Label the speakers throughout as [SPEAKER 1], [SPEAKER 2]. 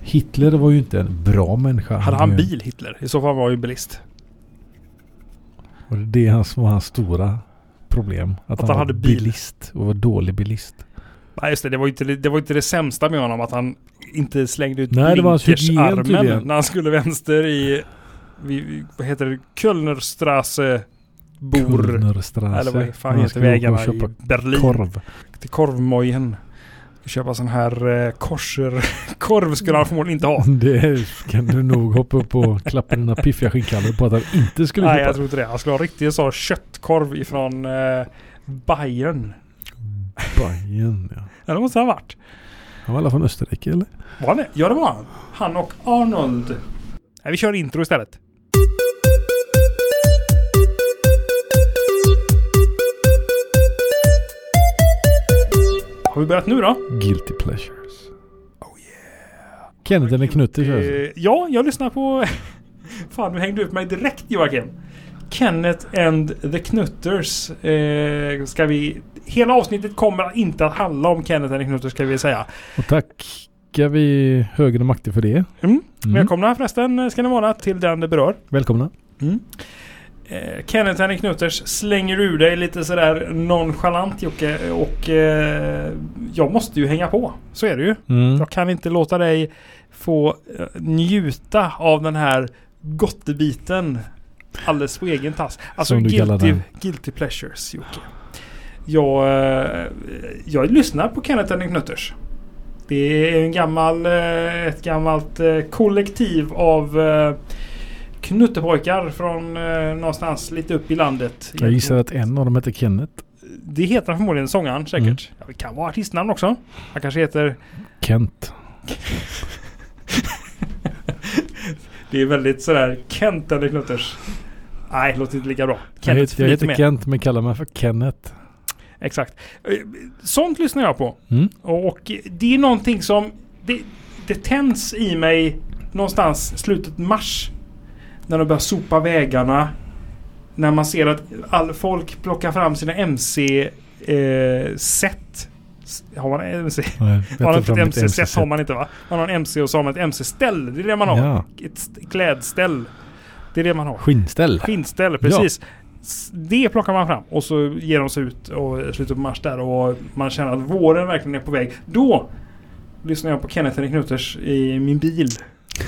[SPEAKER 1] Hitler var ju inte en bra människa.
[SPEAKER 2] Hade
[SPEAKER 1] var
[SPEAKER 2] han
[SPEAKER 1] ju-
[SPEAKER 2] bil, Hitler? I så fall var han ju bilist.
[SPEAKER 1] Och det är hans, var hans stora problem. Att,
[SPEAKER 2] han
[SPEAKER 1] var
[SPEAKER 2] hade bil.
[SPEAKER 1] bilist och var dålig bilist.
[SPEAKER 2] Nej just det, det var ju inte det, det, var ju inte det sämsta med honom att han inte slängde ut
[SPEAKER 1] Nej, det var hans hygien
[SPEAKER 2] blinkersarmen
[SPEAKER 1] tydligen.
[SPEAKER 2] när han skulle vänster i, vid- vid- vad heter det, Kölnerstrasse Bor.
[SPEAKER 1] Kulnerstrasse.
[SPEAKER 2] Eller vad fan
[SPEAKER 1] Han
[SPEAKER 2] heter
[SPEAKER 1] skulle åka och
[SPEAKER 2] vägarna i
[SPEAKER 1] köpa
[SPEAKER 2] Berlin?
[SPEAKER 1] Korv.
[SPEAKER 2] Till korvmojen. Ska Köpa sån här eh, korser. Korv skulle han förmodligen inte ha.
[SPEAKER 1] Det kan du nog hoppa upp och klappa dina piffiga skinnkallar på att han inte skulle
[SPEAKER 2] Nej jag
[SPEAKER 1] köpa.
[SPEAKER 2] tror inte det. Han skulle ha riktigt så köttkorv ifrån eh, Bayern.
[SPEAKER 1] Bajen, ja.
[SPEAKER 2] Eller måste han ha varit.
[SPEAKER 1] Han var alla från Österrike eller?
[SPEAKER 2] Var han det? Ja det var han. Han och Arnold. Nej, vi kör intro istället. Har vi börjat nu då?
[SPEAKER 1] Guilty pleasures. Oh yeah. Kenneth eller Knutte kör vi.
[SPEAKER 2] Eh, ja, jag lyssnar på... Fan, du hängde ut mig direkt Joakim. Kenneth and the Knutters. Eh, ska vi... Hela avsnittet kommer inte att handla om Kenneth and the Knutters ska vi säga.
[SPEAKER 1] Och tackar vi högre makter för det.
[SPEAKER 2] Mm.
[SPEAKER 1] Mm.
[SPEAKER 2] Välkomna förresten eh, ska ni vara till den det berör.
[SPEAKER 1] Välkomna.
[SPEAKER 2] Eh, Kenneth Henrik Knutters slänger ur dig lite sådär nonchalant Jocke och eh, jag måste ju hänga på. Så är det ju.
[SPEAKER 1] Mm.
[SPEAKER 2] Jag kan inte låta dig få eh, njuta av den här gottebiten alldeles på egen tass. Alltså
[SPEAKER 1] Som du kallar
[SPEAKER 2] guilty,
[SPEAKER 1] den.
[SPEAKER 2] guilty pleasures Jocke. Jag, eh, jag lyssnar på Kenneth Henrik Knutters. Det är en gammal, eh, ett gammalt eh, kollektiv av eh, knuttepojkar från eh, någonstans lite upp i landet.
[SPEAKER 1] Jag gissar att en av dem heter Kenneth.
[SPEAKER 2] Det heter han förmodligen sångaren säkert.
[SPEAKER 1] Mm.
[SPEAKER 2] Ja, det kan vara artistnamn också. Han kanske heter...
[SPEAKER 1] Kent.
[SPEAKER 2] Det är väldigt sådär Kent eller Knutters. Nej, låter inte lika bra.
[SPEAKER 1] Jag
[SPEAKER 2] Kenneth
[SPEAKER 1] heter, jag heter
[SPEAKER 2] flyter med.
[SPEAKER 1] Kent men kallar mig för Kenneth.
[SPEAKER 2] Exakt. Eh, Sånt lyssnar jag på.
[SPEAKER 1] Mm.
[SPEAKER 2] Och det är någonting som... Det, det tänds i mig någonstans slutet mars. När de börjar sopa vägarna. När man ser att all folk plockar fram sina MC-set. har man MC? Har man inte ett MC-set har man inte va? Man har en MC och så har man ett MC-ställ. Det är det man har.
[SPEAKER 1] Ja.
[SPEAKER 2] Ett st- klädställ. Det är det man har.
[SPEAKER 1] Skinnställ.
[SPEAKER 2] Skinnställ, precis. S- Det plockar man fram och så ger de sig ut och i slutet på mars där och man känner att våren verkligen är på väg. Då lyssnar jag på Kenneth Henrik Knutters i min bil.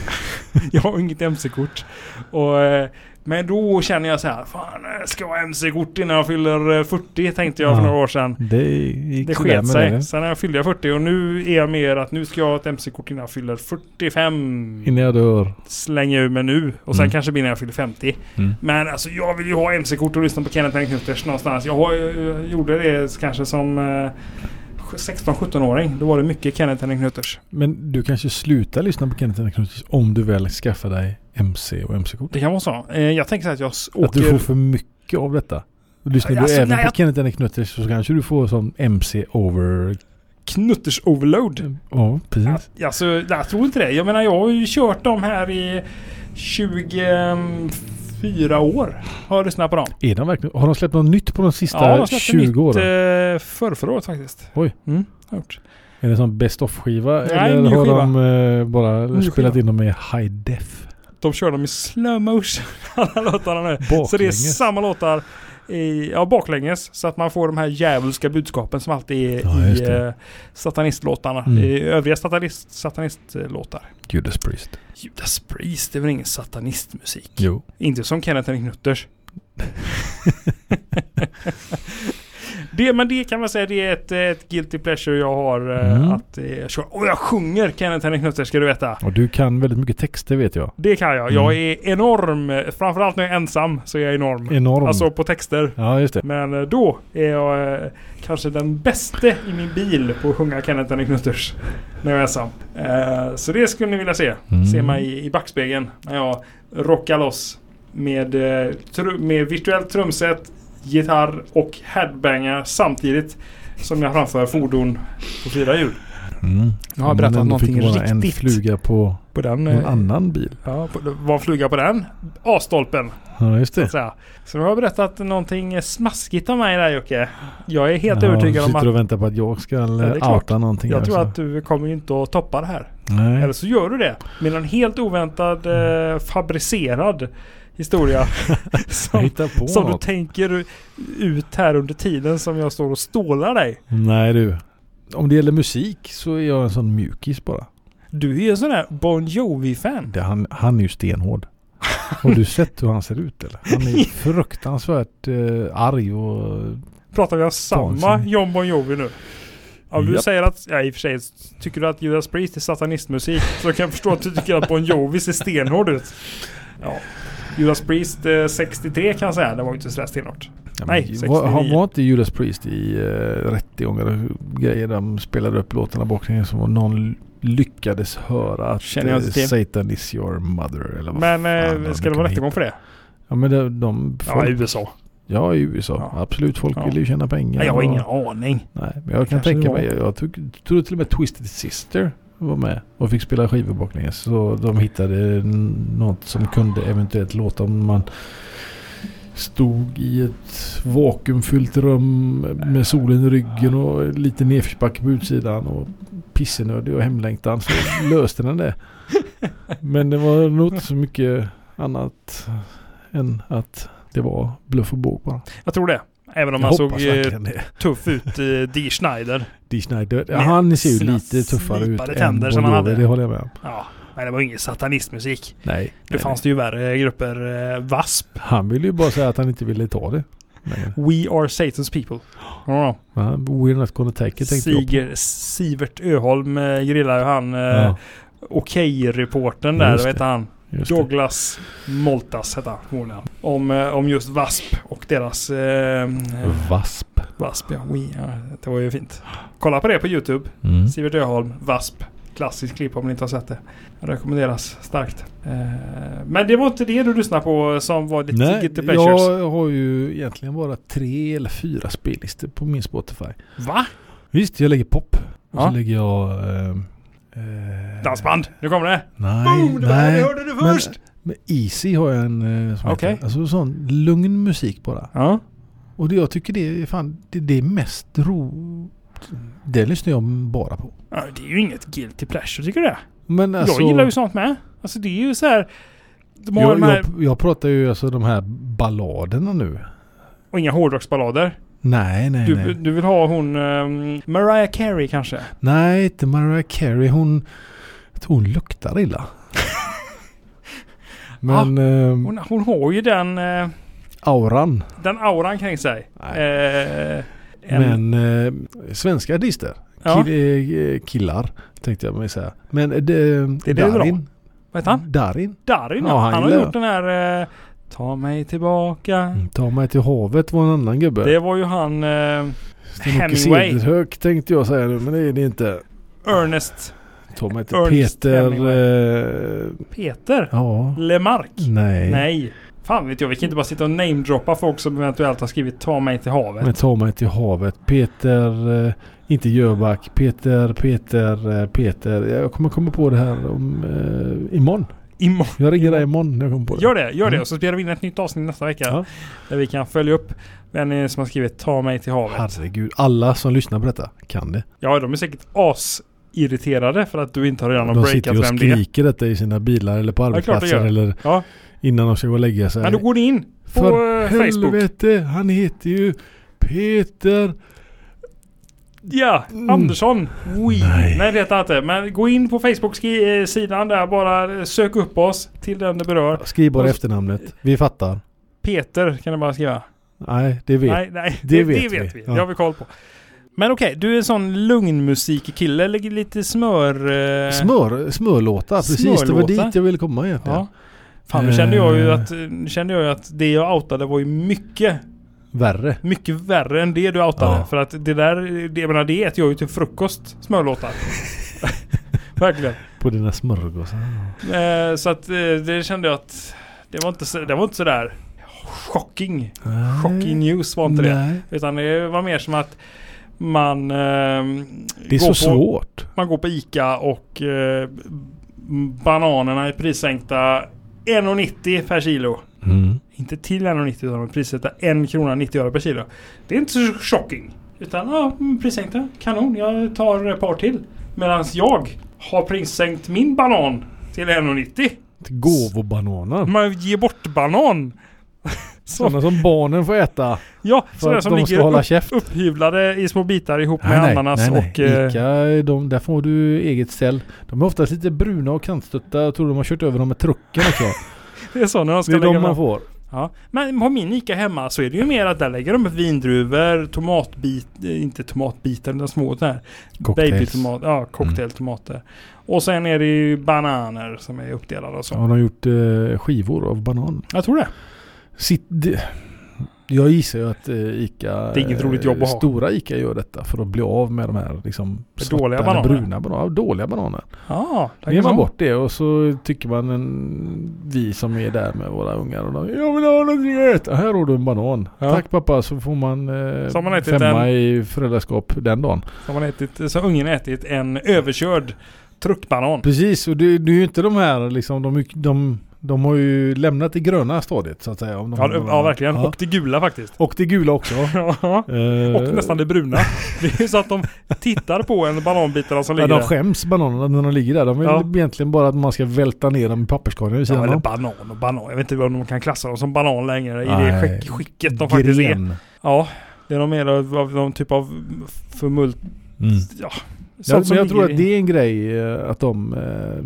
[SPEAKER 2] jag har inget MC-kort. Och, eh, men då känner jag så här, fan eh, ska jag ha MC-kort innan jag fyller eh, 40 tänkte jag för
[SPEAKER 1] Ja.
[SPEAKER 2] några år sedan.
[SPEAKER 1] Det gick
[SPEAKER 2] Det
[SPEAKER 1] sådär
[SPEAKER 2] sket
[SPEAKER 1] med
[SPEAKER 2] sig.
[SPEAKER 1] det.
[SPEAKER 2] Sen när jag fyllde jag 40 och nu är jag mer att nu ska jag ha ett MC-kort innan jag fyller 45.
[SPEAKER 1] Innan jag dör.
[SPEAKER 2] Slänger jag ur mig nu och sen
[SPEAKER 1] Mm.
[SPEAKER 2] kanske blir när jag fyller 50.
[SPEAKER 1] Mm.
[SPEAKER 2] Men alltså jag vill ju ha MC-kort och lyssna på Kenneth Henrik Knutters någonstans. Jag, har, ju- jag gjorde det kanske som eh, 16-17-åring. Då var det mycket Kenneth Henrik Knutters.
[SPEAKER 1] Men du kanske slutar lyssna på Kenneth Henrik Knutis om du väl skaffar dig MC och MC-kort.
[SPEAKER 2] Det kan vara så. Eh, jag tänker så här att jag s- åker...
[SPEAKER 1] Att du får för mycket av detta. Lyssnar
[SPEAKER 2] Alltså,
[SPEAKER 1] du även
[SPEAKER 2] nej,
[SPEAKER 1] på
[SPEAKER 2] jag-
[SPEAKER 1] Kenneth Henrik Knutis så kanske du får som MC over...
[SPEAKER 2] Knutters
[SPEAKER 1] Mm.
[SPEAKER 2] overload.
[SPEAKER 1] Ja, precis.
[SPEAKER 2] Ja, Alltså, jag tror inte det. Jag menar, jag har ju kört dem här i 24 år. Har jag lyssnat på dem.
[SPEAKER 1] Är de verkligen... Har de släppt något nytt på de sista
[SPEAKER 2] Ja, de släppte
[SPEAKER 1] 20
[SPEAKER 2] nytt
[SPEAKER 1] åren?
[SPEAKER 2] eh, förr, förra året faktiskt.
[SPEAKER 1] Oj.
[SPEAKER 2] Mm, har gjort.
[SPEAKER 1] Är det som Best of-skiva?
[SPEAKER 2] Nej,
[SPEAKER 1] Eller
[SPEAKER 2] ny
[SPEAKER 1] har
[SPEAKER 2] skiva.
[SPEAKER 1] de eh, bara
[SPEAKER 2] Ny
[SPEAKER 1] spelat
[SPEAKER 2] skiva.
[SPEAKER 1] in dem i high def?
[SPEAKER 2] De kör dem i slow motion, alla låtarna nu. Så det är
[SPEAKER 1] Baklänges.
[SPEAKER 2] samma låtar i, ja, baklänges. Så att man får de här djävulska budskapen som alltid är
[SPEAKER 1] Ja, just
[SPEAKER 2] i
[SPEAKER 1] det.
[SPEAKER 2] eh, satanistlåtarna.
[SPEAKER 1] Mm.
[SPEAKER 2] I övriga satanist, satanistlåtar.
[SPEAKER 1] Judas Priest.
[SPEAKER 2] Judas Priest, det är väl ingen satanistmusik?
[SPEAKER 1] Jo.
[SPEAKER 2] Inte som Kenneth Henrik Knutters. det, men det kan man säga det är ett, eh, ett guilty pleasure jag har. eh,
[SPEAKER 1] Mm.
[SPEAKER 2] Att eh, köra. Och jag sjunger Kenneth Henrik Knutters ska du veta.
[SPEAKER 1] Och du kan väldigt mycket texter vet jag.
[SPEAKER 2] Det kan jag.
[SPEAKER 1] Mm.
[SPEAKER 2] Jag är enorm. Framförallt när jag är ensam så är jag enorm.
[SPEAKER 1] Enorm.
[SPEAKER 2] Alltså på texter.
[SPEAKER 1] Ja, just det.
[SPEAKER 2] Men eh, då är jag eh, kanske den bäste i min bil på att sjunga Kenneth Henrik Knutters. När jag är ensam. Eh, så det skulle ni vilja se.
[SPEAKER 1] Mm.
[SPEAKER 2] Se mig i, i backspegeln när jag rockar loss. Med, eh, tru- med virtuellt trumset, gitarr och headbanger samtidigt. Som jag framför fordon på fyra hjul.
[SPEAKER 1] Mm.
[SPEAKER 2] Nu har jag
[SPEAKER 1] Om man
[SPEAKER 2] berättat
[SPEAKER 1] ändå fick
[SPEAKER 2] någonting
[SPEAKER 1] vara en
[SPEAKER 2] riktigt.
[SPEAKER 1] fluga på
[SPEAKER 2] på den.
[SPEAKER 1] Någon
[SPEAKER 2] eh,
[SPEAKER 1] annan bil.
[SPEAKER 2] Ja, på- var en fluga på den A-stolpen.
[SPEAKER 1] Ja, just det.
[SPEAKER 2] Så, här. så nu har jag berättat någonting smaskigt om mig där Jocke. Jag är helt
[SPEAKER 1] ja,
[SPEAKER 2] övertygad om
[SPEAKER 1] sitter
[SPEAKER 2] att
[SPEAKER 1] och väntar på att jag ska
[SPEAKER 2] det är
[SPEAKER 1] ja,
[SPEAKER 2] klart.
[SPEAKER 1] outa någonting.
[SPEAKER 2] jag
[SPEAKER 1] här,
[SPEAKER 2] tror
[SPEAKER 1] så.
[SPEAKER 2] att du kommer ju inte att toppa det här.
[SPEAKER 1] Nej. Mm.
[SPEAKER 2] Eller så gör du det med en helt oväntad eh, fabricerad historia.
[SPEAKER 1] Jag
[SPEAKER 2] som
[SPEAKER 1] hittar på
[SPEAKER 2] som du
[SPEAKER 1] något.
[SPEAKER 2] tänker ut här under tiden som jag står och stålar dig.
[SPEAKER 1] Nej du. Om det gäller musik så är jag en sån mjukis bara.
[SPEAKER 2] Du är ju en sån där Bon Jovi-fan.
[SPEAKER 1] Det, han, han är ju stenhård. Har du sett hur han ser ut eller? Han är fruktansvärt eh, arg och...
[SPEAKER 2] Pratar vi om samma
[SPEAKER 1] Vansinnigt.
[SPEAKER 2] John Bon Jovi nu? Om du
[SPEAKER 1] Japp.
[SPEAKER 2] säger att, ja i och för sig, tycker du att Judas Priest är satanistmusik så kan jag förstå att du tycker att Bon Jovi ser stenhård ut. Ja. Judas Priest eh, 63 kan jag säga, det var ju inte sådär stenhårt.
[SPEAKER 1] Ja, men
[SPEAKER 2] Nej,
[SPEAKER 1] var,
[SPEAKER 2] 69.
[SPEAKER 1] han var inte Judas Priest i eh, rättegångar och grejer där de spelade upp låtarna baklänges som om någon lyckades höra att
[SPEAKER 2] Känner jag
[SPEAKER 1] eh,
[SPEAKER 2] inte till.
[SPEAKER 1] Satan is your mother eller vad
[SPEAKER 2] Men
[SPEAKER 1] fan
[SPEAKER 2] eh,
[SPEAKER 1] de
[SPEAKER 2] ska det
[SPEAKER 1] kunde
[SPEAKER 2] vara rättegång för det?
[SPEAKER 1] Ja men de, de
[SPEAKER 2] Ja, i
[SPEAKER 1] folk,
[SPEAKER 2] USA.
[SPEAKER 1] ja, i USA.
[SPEAKER 2] Ja.
[SPEAKER 1] Absolut, folk
[SPEAKER 2] Ja.
[SPEAKER 1] vill ju tjäna pengar.
[SPEAKER 2] Nej, jag har
[SPEAKER 1] och-
[SPEAKER 2] ingen aning.
[SPEAKER 1] Nej, men jag kan
[SPEAKER 2] Kanske det
[SPEAKER 1] tänka
[SPEAKER 2] var
[SPEAKER 1] mig. Jag tyck- tror till och med Twisted Sister var med och fick spela skivor baklänges. Så de hittade n- något som kunde eventuellt låta om man stod i ett vakuumfyllt rum med solen i ryggen och lite nedförsbacke på utsidan och pissenödig och hemlängtan så löste den det. Men det var nog inte så mycket annat än att det var bluff och båg bara.
[SPEAKER 2] Jag tror det. Även om
[SPEAKER 1] Jag
[SPEAKER 2] han såg
[SPEAKER 1] hoppas
[SPEAKER 2] eh,
[SPEAKER 1] verkligen det.
[SPEAKER 2] tuff ut i D. Schneider.
[SPEAKER 1] Dee Snider.
[SPEAKER 2] Med
[SPEAKER 1] han ser ju
[SPEAKER 2] sina
[SPEAKER 1] lite tuffare ut
[SPEAKER 2] slipade
[SPEAKER 1] än
[SPEAKER 2] tänder som
[SPEAKER 1] Bon
[SPEAKER 2] han
[SPEAKER 1] Jovi,
[SPEAKER 2] hade.
[SPEAKER 1] det håller jag med om.
[SPEAKER 2] Ja, men det var ju ingen satanistmusik.
[SPEAKER 1] Nej.
[SPEAKER 2] Det fanns det ju värre grupper. Eh, VASP,
[SPEAKER 1] Han ville ju bara säga att han inte ville ta det. Nej.
[SPEAKER 2] We Are Satan's People. Ja.
[SPEAKER 1] Men We're not gonna take it tänkte jag på.
[SPEAKER 2] Siger, Sivert Öholm eh, grillar ju han. Eh,
[SPEAKER 1] Ja,
[SPEAKER 2] Okej-reportern där,
[SPEAKER 1] Just
[SPEAKER 2] vad heter han?
[SPEAKER 1] just det.
[SPEAKER 2] Douglas Moltas hette han. förmodligen. Om, eh, om just VASP och deras... Eh,
[SPEAKER 1] Mm. Vasp.
[SPEAKER 2] VASP ja, We Are. Det var ju fint. Kolla på det på YouTube.
[SPEAKER 1] Mm.
[SPEAKER 2] Sivert Öholm, VASP. Klassiskt klipp om ni inte har sett det. Rekommenderas starkt. Eh, men det var inte det du lyssnade på som var ditt
[SPEAKER 1] Nej,
[SPEAKER 2] Guilty Pleasures?
[SPEAKER 1] jag har ju egentligen bara tre eller fyra spellistor på min Spotify.
[SPEAKER 2] Va?
[SPEAKER 1] Visst, jag lägger pop. Och
[SPEAKER 2] Ja.
[SPEAKER 1] så lägger jag... Eh, eh,
[SPEAKER 2] Dansband, nu kommer det!
[SPEAKER 1] Nej,
[SPEAKER 2] Boom, det var det
[SPEAKER 1] nej.
[SPEAKER 2] hörde du
[SPEAKER 1] Men,
[SPEAKER 2] först!
[SPEAKER 1] men Easy har jag en eh, som
[SPEAKER 2] Okej.
[SPEAKER 1] heter. Alltså sån lugn musik bara.
[SPEAKER 2] Ja.
[SPEAKER 1] Och det, jag tycker det är fan det, det är mest ro... Det lyssnar jag bara på.
[SPEAKER 2] Ja, Det är ju inget guilty pleasure tycker du det?
[SPEAKER 1] Men alltså,
[SPEAKER 2] Jag gillar ju sånt med. Alltså det är ju så här. De har
[SPEAKER 1] jag,
[SPEAKER 2] de här,
[SPEAKER 1] jag, jag pratar ju alltså de här balladerna nu.
[SPEAKER 2] och inga hårdrocksballader.
[SPEAKER 1] Nej, nej,
[SPEAKER 2] Du,
[SPEAKER 1] nej. Mm.
[SPEAKER 2] du vill ha hon ehm, Mariah Carey kanske?
[SPEAKER 1] Nej, inte Mariah Carey. Hon... Jag tror hon luktar illa. Men ehm,
[SPEAKER 2] Ah, Hon, hon har ju den, eh,
[SPEAKER 1] auran.
[SPEAKER 2] den auran kring sig.
[SPEAKER 1] Nej.
[SPEAKER 2] Eh, en,
[SPEAKER 1] Men eh, svenska artister.
[SPEAKER 2] Ja.
[SPEAKER 1] Kill, eh, killar tänkte jag mig säga. Men eh, det,
[SPEAKER 2] Det är det
[SPEAKER 1] Darin.
[SPEAKER 2] vad heter han?
[SPEAKER 1] Darin.
[SPEAKER 2] Darin
[SPEAKER 1] Ja,
[SPEAKER 2] ja,
[SPEAKER 1] han
[SPEAKER 2] Han har
[SPEAKER 1] gillar Mm.
[SPEAKER 2] gjort den här eh, Ta mig tillbaka.
[SPEAKER 1] Ta mig till havet var en annan gubbe.
[SPEAKER 2] Mm. Det var ju han eh,
[SPEAKER 1] Sten-Åke
[SPEAKER 2] Hemingway.
[SPEAKER 1] Cederhök tänkte jag säga nu, men det är det inte.
[SPEAKER 2] Ernest
[SPEAKER 1] Ta mig till
[SPEAKER 2] Ernest
[SPEAKER 1] Peter...
[SPEAKER 2] Hemingway.
[SPEAKER 1] Eh,
[SPEAKER 2] Peter
[SPEAKER 1] ja.
[SPEAKER 2] Lemark.
[SPEAKER 1] Nej.
[SPEAKER 2] Nej. Fan vet jag, vi kan inte bara sitta och namedroppa folk som eventuellt har skrivit Ta mig till havet.
[SPEAKER 1] Men ta mig till havet. Peter... Eh, inte Jöback. Peter, Peter, eh, Peter. Jag kommer komma på det här om, eh, imorgon.
[SPEAKER 2] Imorgon.
[SPEAKER 1] Jag ringer dig imorgon när jag kommer på det.
[SPEAKER 2] Gör det, gör det.
[SPEAKER 1] Mm.
[SPEAKER 2] Och så spelar vi in ett nytt avsnitt nästa vecka.
[SPEAKER 1] Ja.
[SPEAKER 2] Där vi kan följa upp vem det är som har skrivit Ta mig till havet.
[SPEAKER 1] Herregud. Alla som lyssnar på detta kan det.
[SPEAKER 2] Ja, de är säkert asirriterade för att du inte har redan har
[SPEAKER 1] De sitter
[SPEAKER 2] breakat
[SPEAKER 1] ju och
[SPEAKER 2] vem det är.
[SPEAKER 1] skriker detta i sina bilar eller på
[SPEAKER 2] det är klart de
[SPEAKER 1] arbetsplatser
[SPEAKER 2] gör.
[SPEAKER 1] eller
[SPEAKER 2] Ja,
[SPEAKER 1] innan de ska gå och lägga sig.
[SPEAKER 2] men då går ni in på
[SPEAKER 1] För
[SPEAKER 2] eh, Facebook.
[SPEAKER 1] helvete, han heter ju Peter...
[SPEAKER 2] Ja,
[SPEAKER 1] Mm.
[SPEAKER 2] Andersson. Oui. Nej.
[SPEAKER 1] Nej.
[SPEAKER 2] det heter han inte. Men gå in på Facebook-sidan där. Bara eh, sök upp oss till den det berör.
[SPEAKER 1] Skriv bara
[SPEAKER 2] Och-
[SPEAKER 1] efternamnet. Vi fattar.
[SPEAKER 2] Peter kan du bara skriva.
[SPEAKER 1] Nej, det vet
[SPEAKER 2] Nej, nej.
[SPEAKER 1] Det
[SPEAKER 2] Det, det
[SPEAKER 1] vet
[SPEAKER 2] vet, vi.
[SPEAKER 1] vi.
[SPEAKER 2] Det
[SPEAKER 1] Ja.
[SPEAKER 2] har vi koll på. Men okej, du är en sån lugn musikkille. Lägger lite smör... eh,
[SPEAKER 1] Smör, smörlåtar, precis. Det
[SPEAKER 2] Smörlåtar.
[SPEAKER 1] var dit jag ville komma egentligen.
[SPEAKER 2] Ja. Fan, nu kände jag ju
[SPEAKER 1] Eh.
[SPEAKER 2] att, nu kände jag ju att det jag outade var ju mycket,
[SPEAKER 1] Värre.
[SPEAKER 2] mycket värre än det du outade.
[SPEAKER 1] Ja.
[SPEAKER 2] För att det där, det, jag menar det äter jag ju till frukost, smörlåtar. Verkligen.
[SPEAKER 1] På dina smörgåsar.
[SPEAKER 2] Eh, så att eh, det kände jag att det var inte, så, det var inte sådär shocking. Shocking news var inte det.
[SPEAKER 1] Nej.
[SPEAKER 2] Utan det var mer som att man... Eh,
[SPEAKER 1] Det är
[SPEAKER 2] går
[SPEAKER 1] så
[SPEAKER 2] på,
[SPEAKER 1] svårt.
[SPEAKER 2] Man går på ICA och eh, Bananerna är prissänkta 1,90 per kilo.
[SPEAKER 1] Mm.
[SPEAKER 2] Inte till 1,90 utan de prissätter 1 krona 90 öre per kilo. Det är inte så shocking. Utan ja, mm, prissänkta. Kanon, jag tar ett par till. Medan jag har prissänkt min banan till 1,90.
[SPEAKER 1] Gåvobananer.
[SPEAKER 2] Man ger bort banan. Så,
[SPEAKER 1] Sådana som barnen får äta.
[SPEAKER 2] ja,
[SPEAKER 1] För
[SPEAKER 2] sådana
[SPEAKER 1] att
[SPEAKER 2] som
[SPEAKER 1] de ska hålla
[SPEAKER 2] ligger
[SPEAKER 1] käft.
[SPEAKER 2] upphyvlade i små bitar ihop med ananas och... eh,
[SPEAKER 1] Ica, de, där får du eget ställ. De är oftast lite bruna och kantstötta. Jag tror de har kört över dem med trucken också.
[SPEAKER 2] Det är så när de ska
[SPEAKER 1] Det är
[SPEAKER 2] lägga
[SPEAKER 1] de man
[SPEAKER 2] fram.
[SPEAKER 1] får.
[SPEAKER 2] Ja. Men på min Ica hemma så är det ju mer att där lägger de vindruvor, tomatbit, eh, inte tomatbitar utan små sådana här
[SPEAKER 1] Cocktails. Mm.
[SPEAKER 2] babytomat, ja cocktailtomater. Och sen är det ju bananer som är uppdelade och så.
[SPEAKER 1] Ja, de har gjort eh, skivor av banan.
[SPEAKER 2] Jag tror det.
[SPEAKER 1] Sitt, det, jag gissar ju att eh, Ica... eh,
[SPEAKER 2] Det är inget roligt jobb att ha.
[SPEAKER 1] Stora Ica gör detta för att bli av med de här liksom,
[SPEAKER 2] Med
[SPEAKER 1] svarta
[SPEAKER 2] dåliga
[SPEAKER 1] eller
[SPEAKER 2] bananer.
[SPEAKER 1] bruna bananer. Dåliga bananer.
[SPEAKER 2] Ja, där
[SPEAKER 1] Då ger man bort det och så tycker man en, vi som är där med våra ungar och de, Jag vill ha någonting att äta. Här har du en banan.
[SPEAKER 2] Ja.
[SPEAKER 1] Tack pappa så får man, eh,
[SPEAKER 2] Så har man ätit
[SPEAKER 1] femma
[SPEAKER 2] en-
[SPEAKER 1] i föräldraskap den dagen.
[SPEAKER 2] Så, har man ätit, så har ungen ätit en överkörd truckbanan.
[SPEAKER 1] Precis och det, det är ju inte de här liksom de, de, de har ju lämnat det gröna stadiet så att säga. Om de,
[SPEAKER 2] Ja, det- ja verkligen.
[SPEAKER 1] Ja.
[SPEAKER 2] Och det gula faktiskt.
[SPEAKER 1] Och det gula också.
[SPEAKER 2] Ja.
[SPEAKER 1] Eh,
[SPEAKER 2] Och nästan det bruna. Det är ju så att de tittar på en bananbitarna som
[SPEAKER 1] Ja,
[SPEAKER 2] ligger
[SPEAKER 1] de
[SPEAKER 2] där.
[SPEAKER 1] skäms bananerna när de ligger där. De vill
[SPEAKER 2] Ja.
[SPEAKER 1] egentligen bara att man ska välta ner dem i papperskorgen vid
[SPEAKER 2] Ja,
[SPEAKER 1] sidan
[SPEAKER 2] eller
[SPEAKER 1] om.
[SPEAKER 2] banan och banan. Jag vet inte om de kan klassa dem som banan längre i det
[SPEAKER 1] Nej.
[SPEAKER 2] skick, skicket de faktiskt är.
[SPEAKER 1] Gren. Mm.
[SPEAKER 2] Ja, det är någon mer av, av någon typ av förmult...
[SPEAKER 1] Mm.
[SPEAKER 2] Ja,
[SPEAKER 1] Jag,
[SPEAKER 2] sånt som
[SPEAKER 1] men jag tror
[SPEAKER 2] ligger
[SPEAKER 1] att det är en grej eh, att de... eh,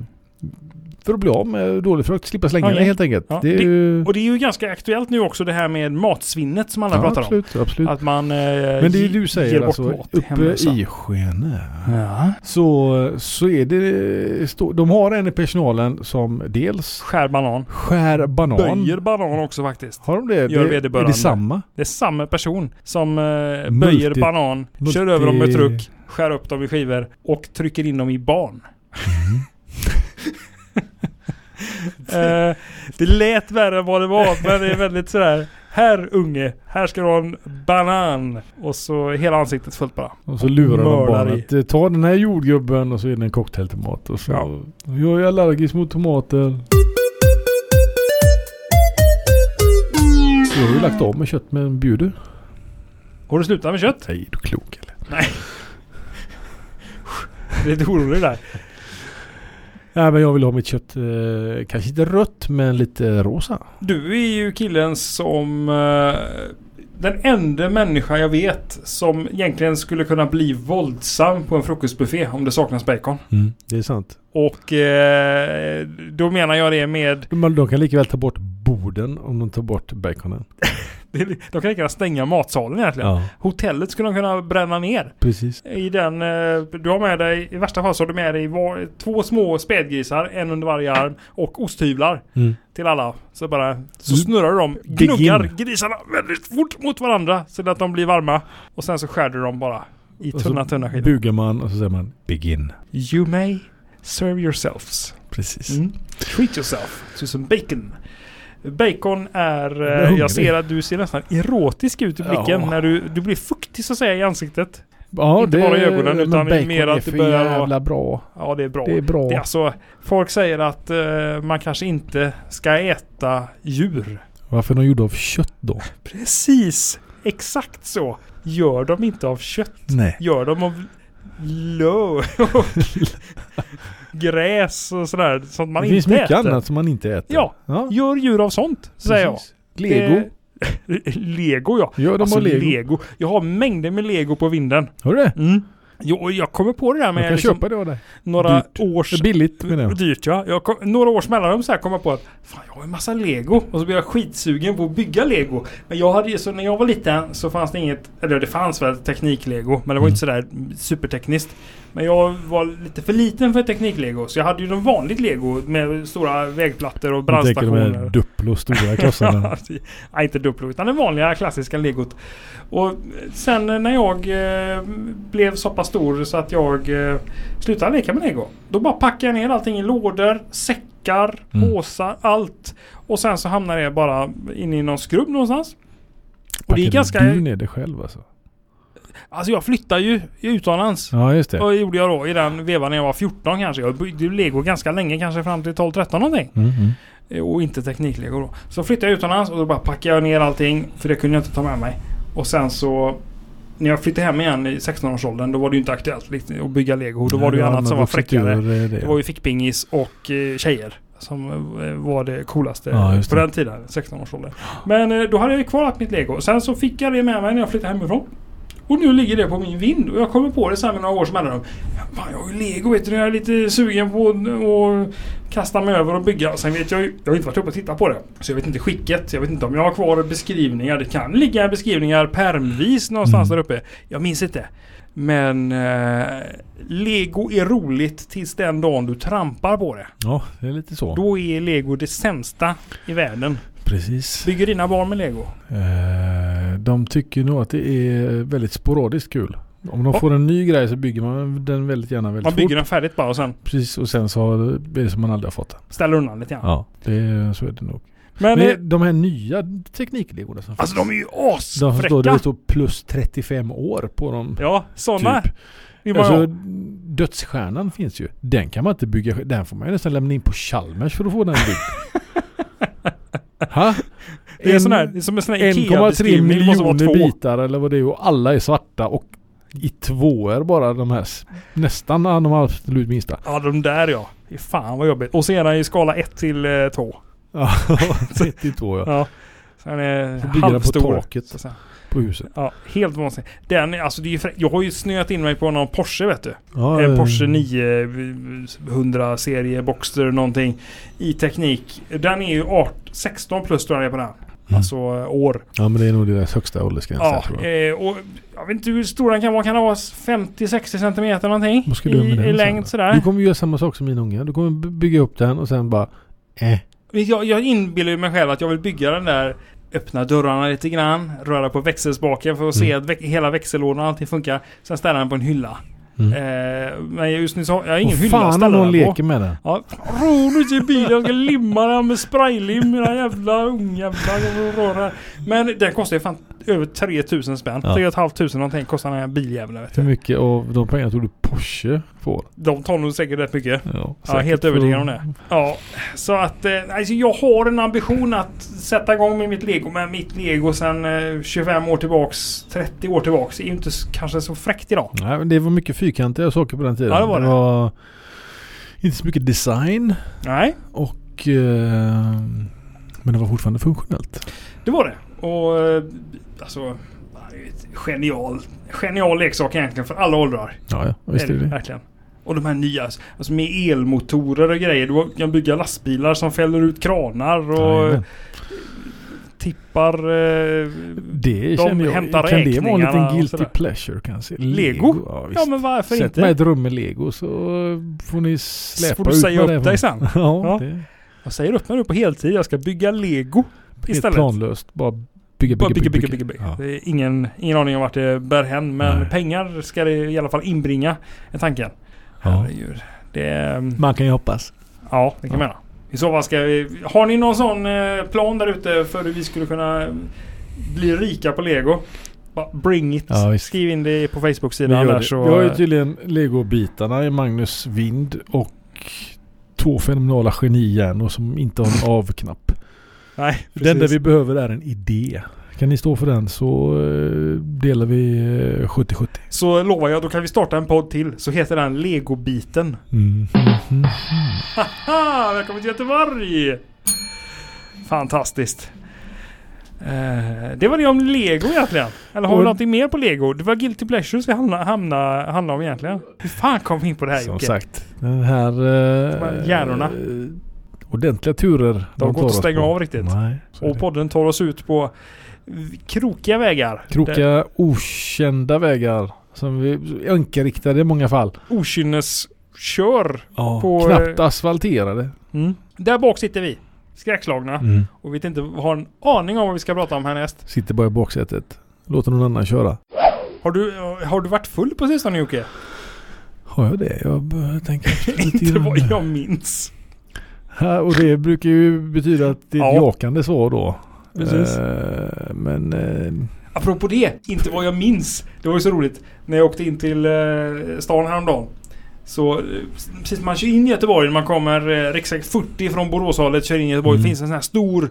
[SPEAKER 1] För att bli av med dålig frukt, slippa slänga
[SPEAKER 2] Ja,
[SPEAKER 1] det
[SPEAKER 2] ja.
[SPEAKER 1] helt enkelt.
[SPEAKER 2] Ja,
[SPEAKER 1] det är
[SPEAKER 2] det-
[SPEAKER 1] ju...
[SPEAKER 2] Och det är ju ganska aktuellt nu också det här med matsvinnet som alla
[SPEAKER 1] ja,
[SPEAKER 2] pratar
[SPEAKER 1] absolut, absolut.
[SPEAKER 2] om. Att man eh,
[SPEAKER 1] men det
[SPEAKER 2] ge-
[SPEAKER 1] du
[SPEAKER 2] ger
[SPEAKER 1] säger
[SPEAKER 2] bort
[SPEAKER 1] alltså,
[SPEAKER 2] mat till
[SPEAKER 1] uppe
[SPEAKER 2] hemlösa.
[SPEAKER 1] i Skene
[SPEAKER 2] Ja.
[SPEAKER 1] så, så är det... stå- De har en i personalen som dels
[SPEAKER 2] Skär banan.
[SPEAKER 1] skär banan.
[SPEAKER 2] Böjer banan också faktiskt.
[SPEAKER 1] Har de det?
[SPEAKER 2] Gör
[SPEAKER 1] det är
[SPEAKER 2] vederbörande.
[SPEAKER 1] det samma?
[SPEAKER 2] Det är samma person som eh, böjer
[SPEAKER 1] Multi-
[SPEAKER 2] banan,
[SPEAKER 1] multi-
[SPEAKER 2] kör över dem med truck, skär upp dem i skivor och trycker in dem i barn.
[SPEAKER 1] Mm.
[SPEAKER 2] eh, det lät värre än vad det var, men det är väldigt sådär. Här unge, här ska du ha en banan. Och så hela ansiktet fullt bara.
[SPEAKER 1] Och så lurar de
[SPEAKER 2] Mördar
[SPEAKER 1] barnet. Eh, Ta den här jordgubben och så är det en cocktailtomat. Och så,
[SPEAKER 2] Ja.
[SPEAKER 1] Jag är allergisk mot tomater. Jag har ju lagt av med kött men bjuder.
[SPEAKER 2] Har du slutat med kött?
[SPEAKER 1] Nej, är du klok eller?
[SPEAKER 2] Det är lite orolig där.
[SPEAKER 1] Nej men jag vill ha mitt kött, eh, kanske inte rött men lite rosa.
[SPEAKER 2] Du är ju killen som... Eh, den enda människa jag vet som egentligen skulle kunna bli våldsam på en frukostbuffé om det saknas bacon.
[SPEAKER 1] Det är sant.
[SPEAKER 2] Och eh, då menar jag det med...
[SPEAKER 1] De, de kan lika väl ta bort borden om de tar bort baconen.
[SPEAKER 2] De kan lika gärna stänga matsalen egentligen. Hotellet skulle de kunna bränna ner.
[SPEAKER 1] precis.
[SPEAKER 2] I den, eh, du har med dig, i värsta fall så har du med dig var, två små spädgrisar, en under varje arm och osthyvlar till alla. Så bara, så
[SPEAKER 1] Mm.
[SPEAKER 2] snurrar du dem,
[SPEAKER 1] Dig
[SPEAKER 2] gnuggar
[SPEAKER 1] in.
[SPEAKER 2] grisarna väldigt fort mot varandra så att de blir varma. Och sen så skär du dem bara i
[SPEAKER 1] Och så
[SPEAKER 2] tunna tunna skivor.
[SPEAKER 1] Bugar man och så säger man begin.
[SPEAKER 2] You may serve yourselves.
[SPEAKER 1] Precis.
[SPEAKER 2] Mm. Treat yourself to some bacon. Bacon är...
[SPEAKER 1] är
[SPEAKER 2] eh,
[SPEAKER 1] hungrig.
[SPEAKER 2] Jag ser att du ser nästan erotisk ut i blicken
[SPEAKER 1] Ja.
[SPEAKER 2] när du, du blir fuktig så att säga i ansiktet.
[SPEAKER 1] Ja,
[SPEAKER 2] Inte
[SPEAKER 1] det,
[SPEAKER 2] bara i ögonen,
[SPEAKER 1] men
[SPEAKER 2] utan det är
[SPEAKER 1] bacon
[SPEAKER 2] mer att det
[SPEAKER 1] för
[SPEAKER 2] börjar vara-
[SPEAKER 1] jävla bra.
[SPEAKER 2] Ja, det är bra.
[SPEAKER 1] Det är bra.
[SPEAKER 2] Det är alltså, folk säger att eh, man kanske inte ska äta djur.
[SPEAKER 1] Varför är de gjorda av kött då?
[SPEAKER 2] Precis! Exakt så! Gör de inte av kött.
[SPEAKER 1] Nej.
[SPEAKER 2] Gör de av lö och gräs och sådär. Sånt man
[SPEAKER 1] det
[SPEAKER 2] inte
[SPEAKER 1] finns mycket
[SPEAKER 2] äter.
[SPEAKER 1] annat som man inte äter.
[SPEAKER 2] Ja,
[SPEAKER 1] ja
[SPEAKER 2] Gör djur av sånt, säger jag.
[SPEAKER 1] precis. Lego.
[SPEAKER 2] Det- Lego ja.
[SPEAKER 1] Gör de
[SPEAKER 2] Alltså
[SPEAKER 1] av lego.
[SPEAKER 2] lego. Jag har mängder med lego på vinden.
[SPEAKER 1] Har du det?
[SPEAKER 2] Mm. Jo, jag kommer på det där
[SPEAKER 1] Man
[SPEAKER 2] med
[SPEAKER 1] kan
[SPEAKER 2] liksom
[SPEAKER 1] köpa det av dig.
[SPEAKER 2] några
[SPEAKER 1] Dyrt.
[SPEAKER 2] års...
[SPEAKER 1] Det är billigt menar jag.
[SPEAKER 2] Dyrt ja. Jag kom, några års mellanrum så här kom jag på att fan jag har en massa lego och så blev jag skitsugen på att bygga lego. Men jag hade ju, så när jag var liten så fanns det inget, eller det fanns väl tekniklego men det var inte
[SPEAKER 1] Mm.
[SPEAKER 2] sådär supertekniskt. Men jag var lite för liten för tekniklego så jag hade ju något vanligt lego med stora vägplattor och
[SPEAKER 1] Jag tänker de här
[SPEAKER 2] brandstationer.
[SPEAKER 1] Duplo stora
[SPEAKER 2] Ja,
[SPEAKER 1] klossarna.
[SPEAKER 2] Nej, inte Duplo utan det vanliga klassiska legot. Och sen eh, när jag eh, blev så pass stor så att jag eh, slutade leka med lego. Då bara packade jag ner allting i lådor, säckar,
[SPEAKER 1] Mm.
[SPEAKER 2] påsar, allt. Och sen så hamnade det bara inne i någon skrubb någonstans. Och det är
[SPEAKER 1] Packade
[SPEAKER 2] ganska...
[SPEAKER 1] du ner det själv alltså?
[SPEAKER 2] Alltså jag flyttade ju utomlands.
[SPEAKER 1] Ja, just det.
[SPEAKER 2] Och gjorde jag då i den vevan när jag var 14 kanske. Jag byggde ju lego ganska länge, kanske fram till 12-13 någonting.
[SPEAKER 1] Mm, mm.
[SPEAKER 2] Eh, Och inte tekniklego då. Så flyttade jag utomlands och då bara packade jag ner allting. För det kunde jag inte ta med mig. Och sen så... När jag flyttade hem igen i 16-årsåldern då var det ju inte aktuellt liksom, att bygga lego. Då var det ju
[SPEAKER 1] Ja,
[SPEAKER 2] annat
[SPEAKER 1] men
[SPEAKER 2] som var
[SPEAKER 1] vuxit
[SPEAKER 2] fräckare.
[SPEAKER 1] ur, eh, Det,
[SPEAKER 2] Det var ju fickpingis och eh, tjejer. Som eh, var det coolaste
[SPEAKER 1] Ja, just
[SPEAKER 2] på
[SPEAKER 1] det.
[SPEAKER 2] den tiden, 16-årsåldern. Men eh, då hade jag ju kvar allt mitt lego. Sen så fick jag det med mig när jag flyttade hemifrån. Och nu ligger det på min vind och jag kommer på det sen med några års mellanrum. Fan, jag har ju lego vet du. Jag är lite sugen på att- att kasta mig över och bygga. Sen vet jag ju, jag har inte varit uppe och tittat på det. Så jag vet inte skicket. Jag vet inte om jag har kvar beskrivningar. Det kan ligga beskrivningar permvis någonstans
[SPEAKER 1] Mm.
[SPEAKER 2] där uppe. Jag minns inte. Men eh, lego är roligt tills den dagen du trampar på det.
[SPEAKER 1] ja, det är lite så.
[SPEAKER 2] Då är lego det sämsta i världen.
[SPEAKER 1] Precis.
[SPEAKER 2] Bygger dina barn med lego?
[SPEAKER 1] Eh, de tycker nog att det är väldigt sporadiskt kul. Om de
[SPEAKER 2] Ja.
[SPEAKER 1] får en ny grej så bygger man den väldigt gärna väldigt
[SPEAKER 2] Man
[SPEAKER 1] fort.
[SPEAKER 2] bygger den färdigt bara och sen
[SPEAKER 1] Precis, och sen så har- blir det som man aldrig har fått den.
[SPEAKER 2] ställer undan lite grann.
[SPEAKER 1] Ja. Det, så är det nog.
[SPEAKER 2] Men, eh,
[SPEAKER 1] Men de här nya tekniklegorna som
[SPEAKER 2] alltså de är ju
[SPEAKER 1] De som står, det
[SPEAKER 2] asfräcka!
[SPEAKER 1] står plus 35 år på dem.
[SPEAKER 2] Ja, sådana.
[SPEAKER 1] Typ.
[SPEAKER 2] vill man
[SPEAKER 1] Alltså,
[SPEAKER 2] ha.
[SPEAKER 1] dödsstjärnan finns ju. Den kan man inte bygga. Den får man ju nästan lämna in på Chalmers för att få den byggd. ha?
[SPEAKER 2] det, är
[SPEAKER 1] En-
[SPEAKER 2] sån här, det är som en sån här
[SPEAKER 1] 1,3
[SPEAKER 2] IKEA-beskrivning. Det måste vara
[SPEAKER 1] miljoner
[SPEAKER 2] två.
[SPEAKER 1] bitar eller vad det är och alla är svarta och i tvåor bara de här. s- Nästan de absolut minsta.
[SPEAKER 2] Ja, de där ja. Fy Fan vad jobbigt. Och sedan i skala 1 till eh, 2.
[SPEAKER 1] Ja, 32 ja.
[SPEAKER 2] Ja. Sen är
[SPEAKER 1] Får bygga den på
[SPEAKER 2] halvstor.
[SPEAKER 1] taket
[SPEAKER 2] Så att säga.
[SPEAKER 1] på huset.
[SPEAKER 2] Ja, helt vansinnigt. Den, är- alltså det är ju frä- Jag har ju snöat in mig på någon Porsche vet du.
[SPEAKER 1] Ja,
[SPEAKER 2] En
[SPEAKER 1] eh,
[SPEAKER 2] Porsche 900 serie Boxster någonting. I teknik. Den är ju 18, 16 plus tror jag det är på den.
[SPEAKER 1] Mm.
[SPEAKER 2] Alltså eh, år.
[SPEAKER 1] Ja men det är nog deras högsta åldersgräns. där,
[SPEAKER 2] Ja,
[SPEAKER 1] tror jag.
[SPEAKER 2] eh, och jag vet inte hur stor den kan vara. Kan den vara 50-60 centimeter någonting?
[SPEAKER 1] Vad ska du göra med den
[SPEAKER 2] I, i
[SPEAKER 1] sen
[SPEAKER 2] längd
[SPEAKER 1] då?
[SPEAKER 2] sådär.
[SPEAKER 1] Du kommer ju göra samma sak som min unge. Du kommer by- bygga upp den och sen bara... Eh.
[SPEAKER 2] Jag, jag inbillar ju mig själv att jag vill bygga den där Öppna dörrarna lite grann, röra på växelspaken för att se att väx- hela växellådan och allting funkar. Sen ställa den på en hylla.
[SPEAKER 1] Mm.
[SPEAKER 2] Eh, men just nu så har jag har ingen
[SPEAKER 1] Och
[SPEAKER 2] hylla att
[SPEAKER 1] fan
[SPEAKER 2] ställa
[SPEAKER 1] om någon
[SPEAKER 2] den på.
[SPEAKER 1] leker med den.
[SPEAKER 2] Ja, roligt i bilen. Jag ska limma den med spraylim. Mina jävla ungjävlar. Men den kostar ju fan över 3000 spänn.
[SPEAKER 1] Ja. Mm.
[SPEAKER 2] 3 500 någonting kostar den här biljäveln vet
[SPEAKER 1] Hur
[SPEAKER 2] du.
[SPEAKER 1] mycket av de pengarna tror du Porsche får?
[SPEAKER 2] De tar nog säkert rätt mycket.
[SPEAKER 1] Ja,
[SPEAKER 2] Ja,
[SPEAKER 1] säkert.
[SPEAKER 2] helt övertygad om det. Ja, så att eh, alltså jag har en ambition att sätta igång med mitt lego. Men mitt lego sen eh, 25 år tillbaks, 30 år tillbaks är ju inte s- kanske så fräckt idag.
[SPEAKER 1] Nej, men det var mycket fyrkantiga saker på den tiden.
[SPEAKER 2] Ja, det var det.
[SPEAKER 1] var inte så mycket design.
[SPEAKER 2] Nej,
[SPEAKER 1] Och, eh, men det var fortfarande funktionellt.
[SPEAKER 2] det var det. Och eh, alltså, det är ju ett genial, genial leksak egentligen för alla åldrar.
[SPEAKER 1] Ja, ja visst är det det.
[SPEAKER 2] Verkligen. Och de här nya, alltså med elmotorer och grejer. Du kan bygga lastbilar som fäller ut kranar och
[SPEAKER 1] Jajamän.
[SPEAKER 2] tippar... Eh,
[SPEAKER 1] Det
[SPEAKER 2] de
[SPEAKER 1] känner jag.
[SPEAKER 2] hämtar
[SPEAKER 1] Kan det vara en
[SPEAKER 2] räkningarna
[SPEAKER 1] liten
[SPEAKER 2] och
[SPEAKER 1] guilty
[SPEAKER 2] sådär.
[SPEAKER 1] pleasure kanske?
[SPEAKER 2] Lego?
[SPEAKER 1] Ja, visst.
[SPEAKER 2] ja men varför
[SPEAKER 1] Sätt
[SPEAKER 2] inte?
[SPEAKER 1] mig i ett rum med lego så får ni släpa
[SPEAKER 2] Så får du
[SPEAKER 1] ut
[SPEAKER 2] säga
[SPEAKER 1] vad det
[SPEAKER 2] upp
[SPEAKER 1] är
[SPEAKER 2] dig
[SPEAKER 1] för-
[SPEAKER 2] sen.
[SPEAKER 1] ja,
[SPEAKER 2] Ja.
[SPEAKER 1] det är
[SPEAKER 2] Jag säger upp mig nu på heltid. Jag ska bygga lego.
[SPEAKER 1] helt
[SPEAKER 2] Istället.
[SPEAKER 1] planlöst. Bara bygga,
[SPEAKER 2] Bara
[SPEAKER 1] bygga, bygga. bygga, Ja.
[SPEAKER 2] Det är ingen, ingen aning om vart det bär hän. Men
[SPEAKER 1] Nej.
[SPEAKER 2] pengar ska det i alla fall inbringa. Är tanken.
[SPEAKER 1] Ja.
[SPEAKER 2] Herregud. Det är...
[SPEAKER 1] Man kan ju hoppas.
[SPEAKER 2] Ja, det kan man göra. I så fall ska vi... Har ni någon sån eh, plan där ute för hur vi skulle kunna bli rika på lego? Bara Bring it.
[SPEAKER 1] Ja, visst.
[SPEAKER 2] Skriv in det på
[SPEAKER 1] Vi
[SPEAKER 2] Facebook-sidan
[SPEAKER 1] gör
[SPEAKER 2] där
[SPEAKER 1] det.
[SPEAKER 2] så...
[SPEAKER 1] Vi har ju typ tydligen legobitarna i Magnus Vind och två fenomenala genihjärnor som inte har en avknapp.
[SPEAKER 2] Nej, precis.
[SPEAKER 1] Den där vi behöver är en idé. Kan ni stå för den så eh, delar vi eh, 70-70.
[SPEAKER 2] Så lovar jag, då kan vi starta en podd till. Så heter den Legobiten.
[SPEAKER 1] Mm.
[SPEAKER 2] Haha! Välkommen till Göteborg! Fantastiskt. Eh, det var det om lego egentligen. Eller har vi
[SPEAKER 1] Och-
[SPEAKER 2] någonting mer på lego? Det var Guilty Pleasures vi hamnade, hamnade, hamnade om egentligen. Hur fan kom vi in på det här
[SPEAKER 1] Som
[SPEAKER 2] Jocke?
[SPEAKER 1] sagt, den här... eh,
[SPEAKER 2] De här hjärnorna.
[SPEAKER 1] eh, ordentliga turer. De,
[SPEAKER 2] går inte
[SPEAKER 1] tar
[SPEAKER 2] att
[SPEAKER 1] oss
[SPEAKER 2] stänga
[SPEAKER 1] på.
[SPEAKER 2] av riktigt.
[SPEAKER 1] Nej, så är
[SPEAKER 2] Och
[SPEAKER 1] det.
[SPEAKER 2] podden tar oss ut på krokiga vägar. Där
[SPEAKER 1] Krokiga, okända vägar. Som vi önskeriktade i många fall.
[SPEAKER 2] Okynneskör.
[SPEAKER 1] Ja,
[SPEAKER 2] På, eh,
[SPEAKER 1] knappt asfalterade.
[SPEAKER 2] Mm. Där bak sitter vi. Skräckslagna.
[SPEAKER 1] Mm.
[SPEAKER 2] Och vet inte, har en aning om vad vi ska prata om härnäst.
[SPEAKER 1] Sitter bara i baksätet. Låter någon annan köra.
[SPEAKER 2] Har du, har du varit full på sistone Jocke?
[SPEAKER 1] Har jag det? Jag b- tänker efter lite
[SPEAKER 2] Inte
[SPEAKER 1] grann
[SPEAKER 2] vad
[SPEAKER 1] här.
[SPEAKER 2] jag minns.
[SPEAKER 1] Ja, Och det brukar ju betyda att det är ett
[SPEAKER 2] Ja.
[SPEAKER 1] jakande svar då.
[SPEAKER 2] Precis.
[SPEAKER 1] Eh, men eh,
[SPEAKER 2] Apropå det, inte vad jag minns. Det var ju så roligt. När jag åkte in till eh, stan häromdagen. Så eh, precis när man kör in i Göteborg, när man kommer eh, riksväg 40 från Boråshållet, kör in i Göteborg,
[SPEAKER 1] Mm.
[SPEAKER 2] finns en sån här stor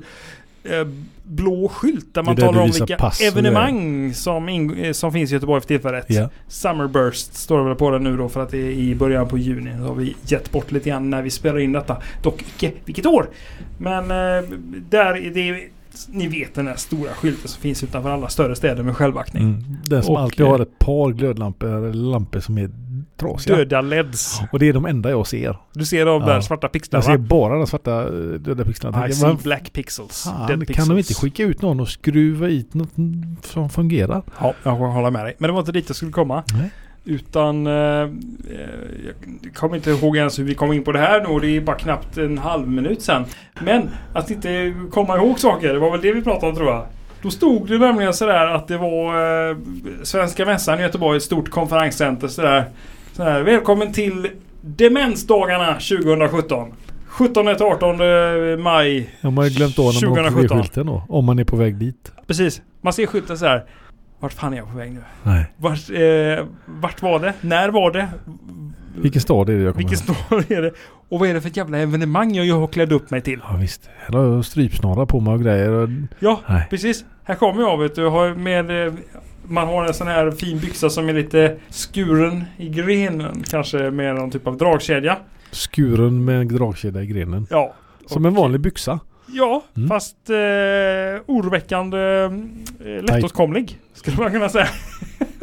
[SPEAKER 2] eh, blå skylt där man
[SPEAKER 1] där
[SPEAKER 2] talar
[SPEAKER 1] du
[SPEAKER 2] om
[SPEAKER 1] visar
[SPEAKER 2] vilka
[SPEAKER 1] pass och
[SPEAKER 2] evenemang som, ing- eh, som finns i Göteborg för tillfället.
[SPEAKER 1] Ja.
[SPEAKER 2] Summerburst står det väl på den nu då för att det är i början på juni. Då har vi gett bort lite grann när vi spelar in detta. Dock icke vilket år. Men eh, där är det... Ni vet den där stora skylten som finns utanför alla större städer med självaktning.
[SPEAKER 1] Mm. Den som
[SPEAKER 2] Och,
[SPEAKER 1] alltid
[SPEAKER 2] eh,
[SPEAKER 1] har ett par glödlampor eller lampor som är trasiga.
[SPEAKER 2] Döda LEDs.
[SPEAKER 1] Och det är de enda jag ser.
[SPEAKER 2] Du ser de där
[SPEAKER 1] Mm. Ja.
[SPEAKER 2] svarta
[SPEAKER 1] Jag ser
[SPEAKER 2] pixlarna.
[SPEAKER 1] bara de svarta eh, döda pixlarna.
[SPEAKER 2] I
[SPEAKER 1] Jag
[SPEAKER 2] see
[SPEAKER 1] tänker,
[SPEAKER 2] black pixels.
[SPEAKER 1] Fan, kan
[SPEAKER 2] dead pixels.
[SPEAKER 1] de inte skicka ut någon och skruva i något som fungerar?
[SPEAKER 2] Ja, jag håller med dig. Men det var inte dit jag skulle komma.
[SPEAKER 1] Nej.
[SPEAKER 2] Utan eh, eh, jag kommer inte ihåg ens hur vi kom in på det här nu och det är bara knappt en halv minut sen. Men att inte komma ihåg saker, det var väl det vi pratade om tror jag. Då stod det nämligen sådär att det var eh, Svenska Mässan i Göteborg, ett stort konferenscenter sådär. sådär. Välkommen till Demensdagarna 2017. 17 till 18 maj.
[SPEAKER 1] Ja, man har ju glömt av när man åker förbi
[SPEAKER 2] 2017.
[SPEAKER 1] skylten då. Om man är på väg dit.
[SPEAKER 2] Precis, man ser skylten sådär. Vart fan är jag på väg nu?
[SPEAKER 1] Nej.
[SPEAKER 2] Vart, eh, vart var det? När var det?
[SPEAKER 1] Vilken stad är det jag kommer
[SPEAKER 2] Vilken
[SPEAKER 1] ihåg?
[SPEAKER 2] stad är det? Och vad är det för ett jävla evenemang jag har klädd upp mig till?
[SPEAKER 1] Ja visst. Här har jag strypsnara på mig och grejer. Och...
[SPEAKER 2] Ja,
[SPEAKER 1] Nej.
[SPEAKER 2] precis. Här kommer jag vet du. Jag Har med, eh, man har en sån här fin byxa som är lite skuren i grenen. Kanske med någon typ av dragkedja.
[SPEAKER 1] Skuren med en dragkedja i grenen.
[SPEAKER 2] Ja,
[SPEAKER 1] Som en vanlig byxa.
[SPEAKER 2] ja
[SPEAKER 1] Mm.
[SPEAKER 2] fast eh, oroväckande eh, lättåtkomlig. Skulle man kunna säga.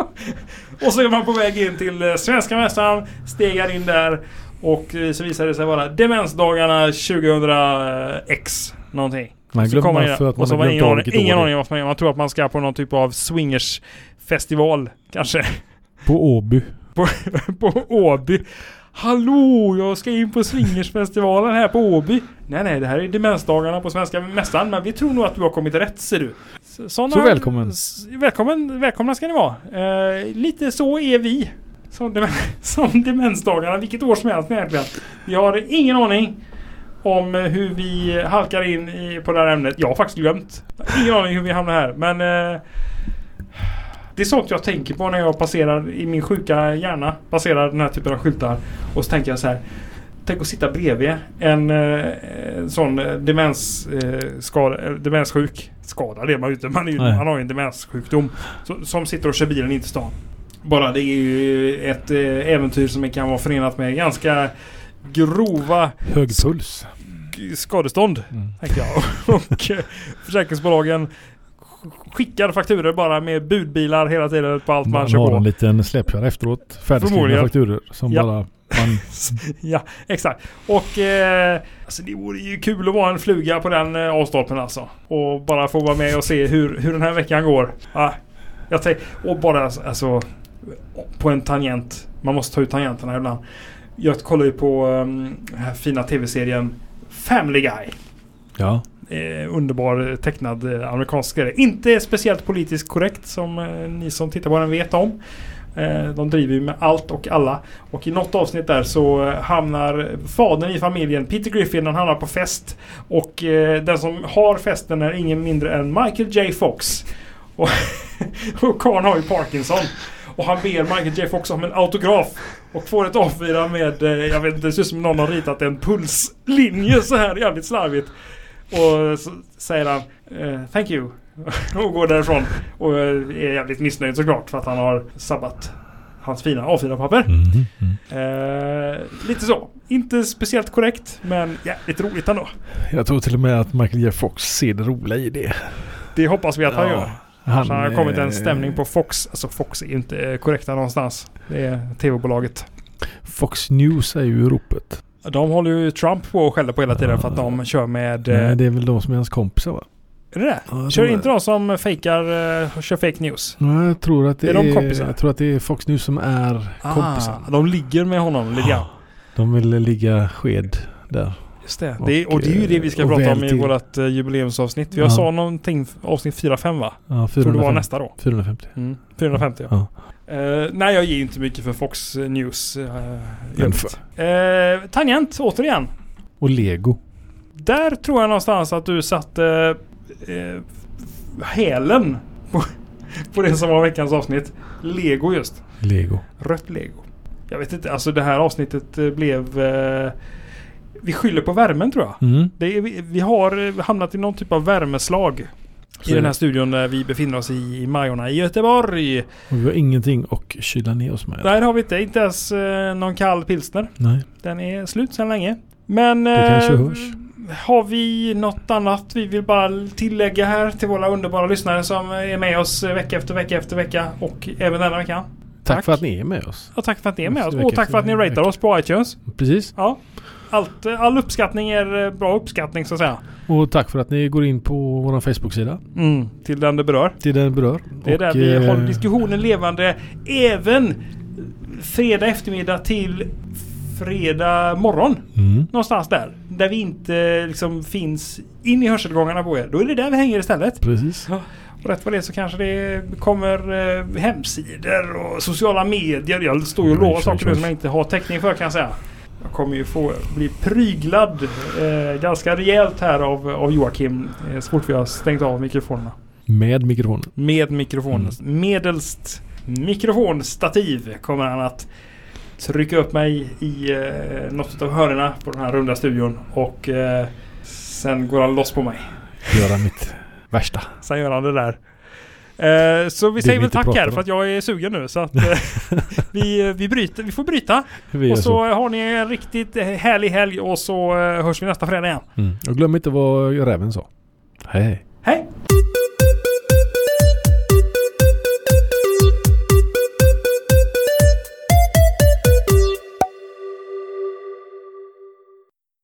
[SPEAKER 2] och så är man på väg in till eh, Svenska Mässan. Stegar in där. Och eh, så visar det sig vara Demensdagarna 2000X. Någonting.
[SPEAKER 1] Man
[SPEAKER 2] Så
[SPEAKER 1] glömmer
[SPEAKER 2] kommer
[SPEAKER 1] man
[SPEAKER 2] jag,
[SPEAKER 1] för att
[SPEAKER 2] och
[SPEAKER 1] man
[SPEAKER 2] så
[SPEAKER 1] har
[SPEAKER 2] har man
[SPEAKER 1] glömt
[SPEAKER 2] ingen
[SPEAKER 1] av
[SPEAKER 2] aning,
[SPEAKER 1] vilket
[SPEAKER 2] ingen
[SPEAKER 1] år det
[SPEAKER 2] aning
[SPEAKER 1] är.
[SPEAKER 2] om vad man gör. Man tror att man ska på någon typ av swingersfestival kanske.
[SPEAKER 1] På Åby.
[SPEAKER 2] på Åby. Hallå, jag ska in på swingersfestivalen här på Åby. Nej, nej, det här är demensdagarna på Svenska Mässan. Men vi tror nog att du har kommit rätt, ser du. Så, såna-
[SPEAKER 1] Så välkommen.
[SPEAKER 2] s- välkommen. Välkomna ska ni vara. Eh, lite så är vi. Som, dem, som demensdagarna, vilket år som helst egentligen. Vi har ingen aning om eh, hur vi halkar in i, på det här ämnet. Jag har faktiskt glömt. Ingen aning hur vi hamnar här, men... Eh, det är sånt jag tänker på när jag passerar i min sjuka hjärna. Passerar den här typen av skyltar. Och så tänker jag så här. Tänk att sitta bredvid en eh, eh, sån eh, demens, eh, skada, eh, demenssjuk. Skadad är man ju inte. Man, är ju,
[SPEAKER 1] Nej.
[SPEAKER 2] man har ju en demenssjukdom. Så, som sitter och kör bilen in till stan. Bara det är ju ett eh, äventyr som kan vara förenat med ganska grova
[SPEAKER 1] Hög puls.
[SPEAKER 2] g- skadestånd.
[SPEAKER 1] Mm.
[SPEAKER 2] Tänker jag. Och eh, försäkringsbolagen sk- skickar fakturer bara med budbilar hela tiden på allt man,
[SPEAKER 1] Man
[SPEAKER 2] kör
[SPEAKER 1] har en
[SPEAKER 2] på.
[SPEAKER 1] liten släpkärra efteråt. Färdigskrivna
[SPEAKER 2] Förmodligen.
[SPEAKER 1] fakturor som
[SPEAKER 2] Ja.
[SPEAKER 1] bara man
[SPEAKER 2] Ja, exakt. Och eh, alltså det vore ju kul att vara en fluga på den eh, avstolpen alltså. Och bara få vara med och se hur, hur den här veckan går. Ah, jag tänk, och bara alltså på en tangent. Man måste ta ut tangenterna ibland. Jag kollar ju på um, den här fina tv-serien Family Guy.
[SPEAKER 1] Ja.
[SPEAKER 2] eh, underbar eh, tecknad eh, amerikansk serie. Inte speciellt politiskt korrekt som eh, ni som tittar på den vet om. Eh, de driver ju med allt och alla. Och i något avsnitt där så eh, hamnar fadern i familjen, Peter Griffin, han hamnar på fest. Och eh, den som har festen är ingen mindre än Michael J Fox. Och, och karln har ju Parkinson. Och han ber Michael J Fox om en autograf. Och får ett A4 med, eh, jag vet inte, det ser ut som någon har ritat en pulslinje så här jävligt slarvigt. Och så säger han eh, “Thank you” och går därifrån. Och eh, är jävligt missnöjd såklart för att han har sabbat hans fina A4-papper.
[SPEAKER 1] Mhm, mhm.
[SPEAKER 2] Eh, lite så. Inte speciellt korrekt men jävligt roligt ändå.
[SPEAKER 1] Jag tror till och med att Michael J. Fox ser det roliga i det.
[SPEAKER 2] Det hoppas vi att han
[SPEAKER 1] Ja,
[SPEAKER 2] gör. Alltså, Han, han har kommit
[SPEAKER 1] eh,
[SPEAKER 2] en stämning på Fox. Alltså Fox är ju inte eh, korrekta någonstans. Det är tv-bolaget.
[SPEAKER 1] Fox News är ju ropet.
[SPEAKER 2] De håller ju Trump på och skäller på hela tiden för att de kör med... eh,
[SPEAKER 1] Nej, det är väl de som är hans kompisar va?
[SPEAKER 2] Är det
[SPEAKER 1] Ja,
[SPEAKER 2] det?
[SPEAKER 1] jag
[SPEAKER 2] Kör
[SPEAKER 1] tror
[SPEAKER 2] inte de som fejkar, eh, kör fake news?
[SPEAKER 1] Nej, jag tror att det
[SPEAKER 2] Är
[SPEAKER 1] är,
[SPEAKER 2] de kompisar?
[SPEAKER 1] Jag tror att det är Fox News som är kompisar.
[SPEAKER 2] Ah, de ligger med honom lite grann.
[SPEAKER 1] De vill ligga sked där.
[SPEAKER 2] Ah, Just det.
[SPEAKER 1] Och,
[SPEAKER 2] det och det är ju det vi ska
[SPEAKER 1] och
[SPEAKER 2] prata
[SPEAKER 1] väl
[SPEAKER 2] om i
[SPEAKER 1] till.
[SPEAKER 2] vårt eh, jubileumsavsnitt. Jag
[SPEAKER 1] Ja.
[SPEAKER 2] sa någonting f- avsnitt 4-5 va?
[SPEAKER 1] Ja,
[SPEAKER 2] Tror det var
[SPEAKER 1] 450.
[SPEAKER 2] nästa då.
[SPEAKER 1] 450.
[SPEAKER 2] Mm. 450 ja.
[SPEAKER 1] Ja.
[SPEAKER 2] Eh, nej, jag ger ju inte mycket för Fox News. Uh,
[SPEAKER 1] Men
[SPEAKER 2] uh, tangent, återigen.
[SPEAKER 1] Och Lego.
[SPEAKER 2] Där tror jag någonstans att du satte eh, hälen på, på det som var veckans avsnitt. Lego just.
[SPEAKER 1] Lego.
[SPEAKER 2] Rött lego. Jag vet inte, alltså det här avsnittet eh, blev... Eh, vi skyller på värmen tror jag.
[SPEAKER 1] Mm.
[SPEAKER 2] Det är, vi, vi har eh, hamnat i någon typ av värmeslag
[SPEAKER 1] Så
[SPEAKER 2] i
[SPEAKER 1] är
[SPEAKER 2] den här
[SPEAKER 1] det.
[SPEAKER 2] studion där vi befinner oss i, i Majorna i Göteborg.
[SPEAKER 1] Och vi har ingenting och kyla ner oss med.
[SPEAKER 2] Där har vi inte, inte ens eh, någon kall pilsner.
[SPEAKER 1] Nej.
[SPEAKER 2] Den är slut sedan länge. Men... eh,
[SPEAKER 1] Det kanske hörs.
[SPEAKER 2] Har vi något annat vi vill bara tillägga här till våra underbara lyssnare som är med oss vecka efter vecka efter vecka och även denna veckan?
[SPEAKER 1] Tack för att ni är med oss.
[SPEAKER 2] Och tack för att ni är med
[SPEAKER 1] Efter
[SPEAKER 2] oss
[SPEAKER 1] vecka
[SPEAKER 2] och tack
[SPEAKER 1] efter
[SPEAKER 2] för att ni ratar
[SPEAKER 1] vecka.
[SPEAKER 2] oss på iTunes.
[SPEAKER 1] Precis.
[SPEAKER 2] Ja. Allt, all uppskattning är eh, bra uppskattning så att säga.
[SPEAKER 1] Och tack för att ni går in på vår Facebook-sida.
[SPEAKER 2] Mm, till den det berör.
[SPEAKER 1] Det är den berör.
[SPEAKER 2] Det är
[SPEAKER 1] Och,
[SPEAKER 2] där vi
[SPEAKER 1] eh,
[SPEAKER 2] håller diskussionen levande även fredag eftermiddag till fredag morgon.
[SPEAKER 1] Mm.
[SPEAKER 2] Någonstans där. Där vi inte liksom finns in i hörselgångarna på er. Då är det där vi hänger istället.
[SPEAKER 1] Precis.
[SPEAKER 2] Och rätt vad det är så kanske det kommer eh, hemsidor och sociala medier. Jag står ju och
[SPEAKER 1] Mm,
[SPEAKER 2] lovar
[SPEAKER 1] exakt,
[SPEAKER 2] saker nu
[SPEAKER 1] exakt.
[SPEAKER 2] som jag inte har täckning för kan jag säga. Jag kommer ju få bli pryglad eh, ganska rejält här av, av Joakim eh, så fort vi har stängt av mikrofonerna.
[SPEAKER 1] Med mikrofonen.
[SPEAKER 2] Med mikrofonen. Medelst mikrofonstativ kommer han att trycka upp mig i eh, något av hörnerna på den här runda studion och eh, sen går han loss på mig.
[SPEAKER 1] Göra mitt värsta.
[SPEAKER 2] Sen gör han det där. Eh, så vi
[SPEAKER 1] Det vi
[SPEAKER 2] säger väl
[SPEAKER 1] inte
[SPEAKER 2] tack
[SPEAKER 1] pratar
[SPEAKER 2] här
[SPEAKER 1] om.
[SPEAKER 2] för att jag är sugen nu så att eh, vi, vi, bryter, vi får bryta.
[SPEAKER 1] Vi
[SPEAKER 2] Och
[SPEAKER 1] gör
[SPEAKER 2] så har ni en riktigt eh, härlig helg och så eh, hörs vi nästa fredag igen.
[SPEAKER 1] Mm. Och glöm inte vad räven sa. Hej.
[SPEAKER 2] Hej!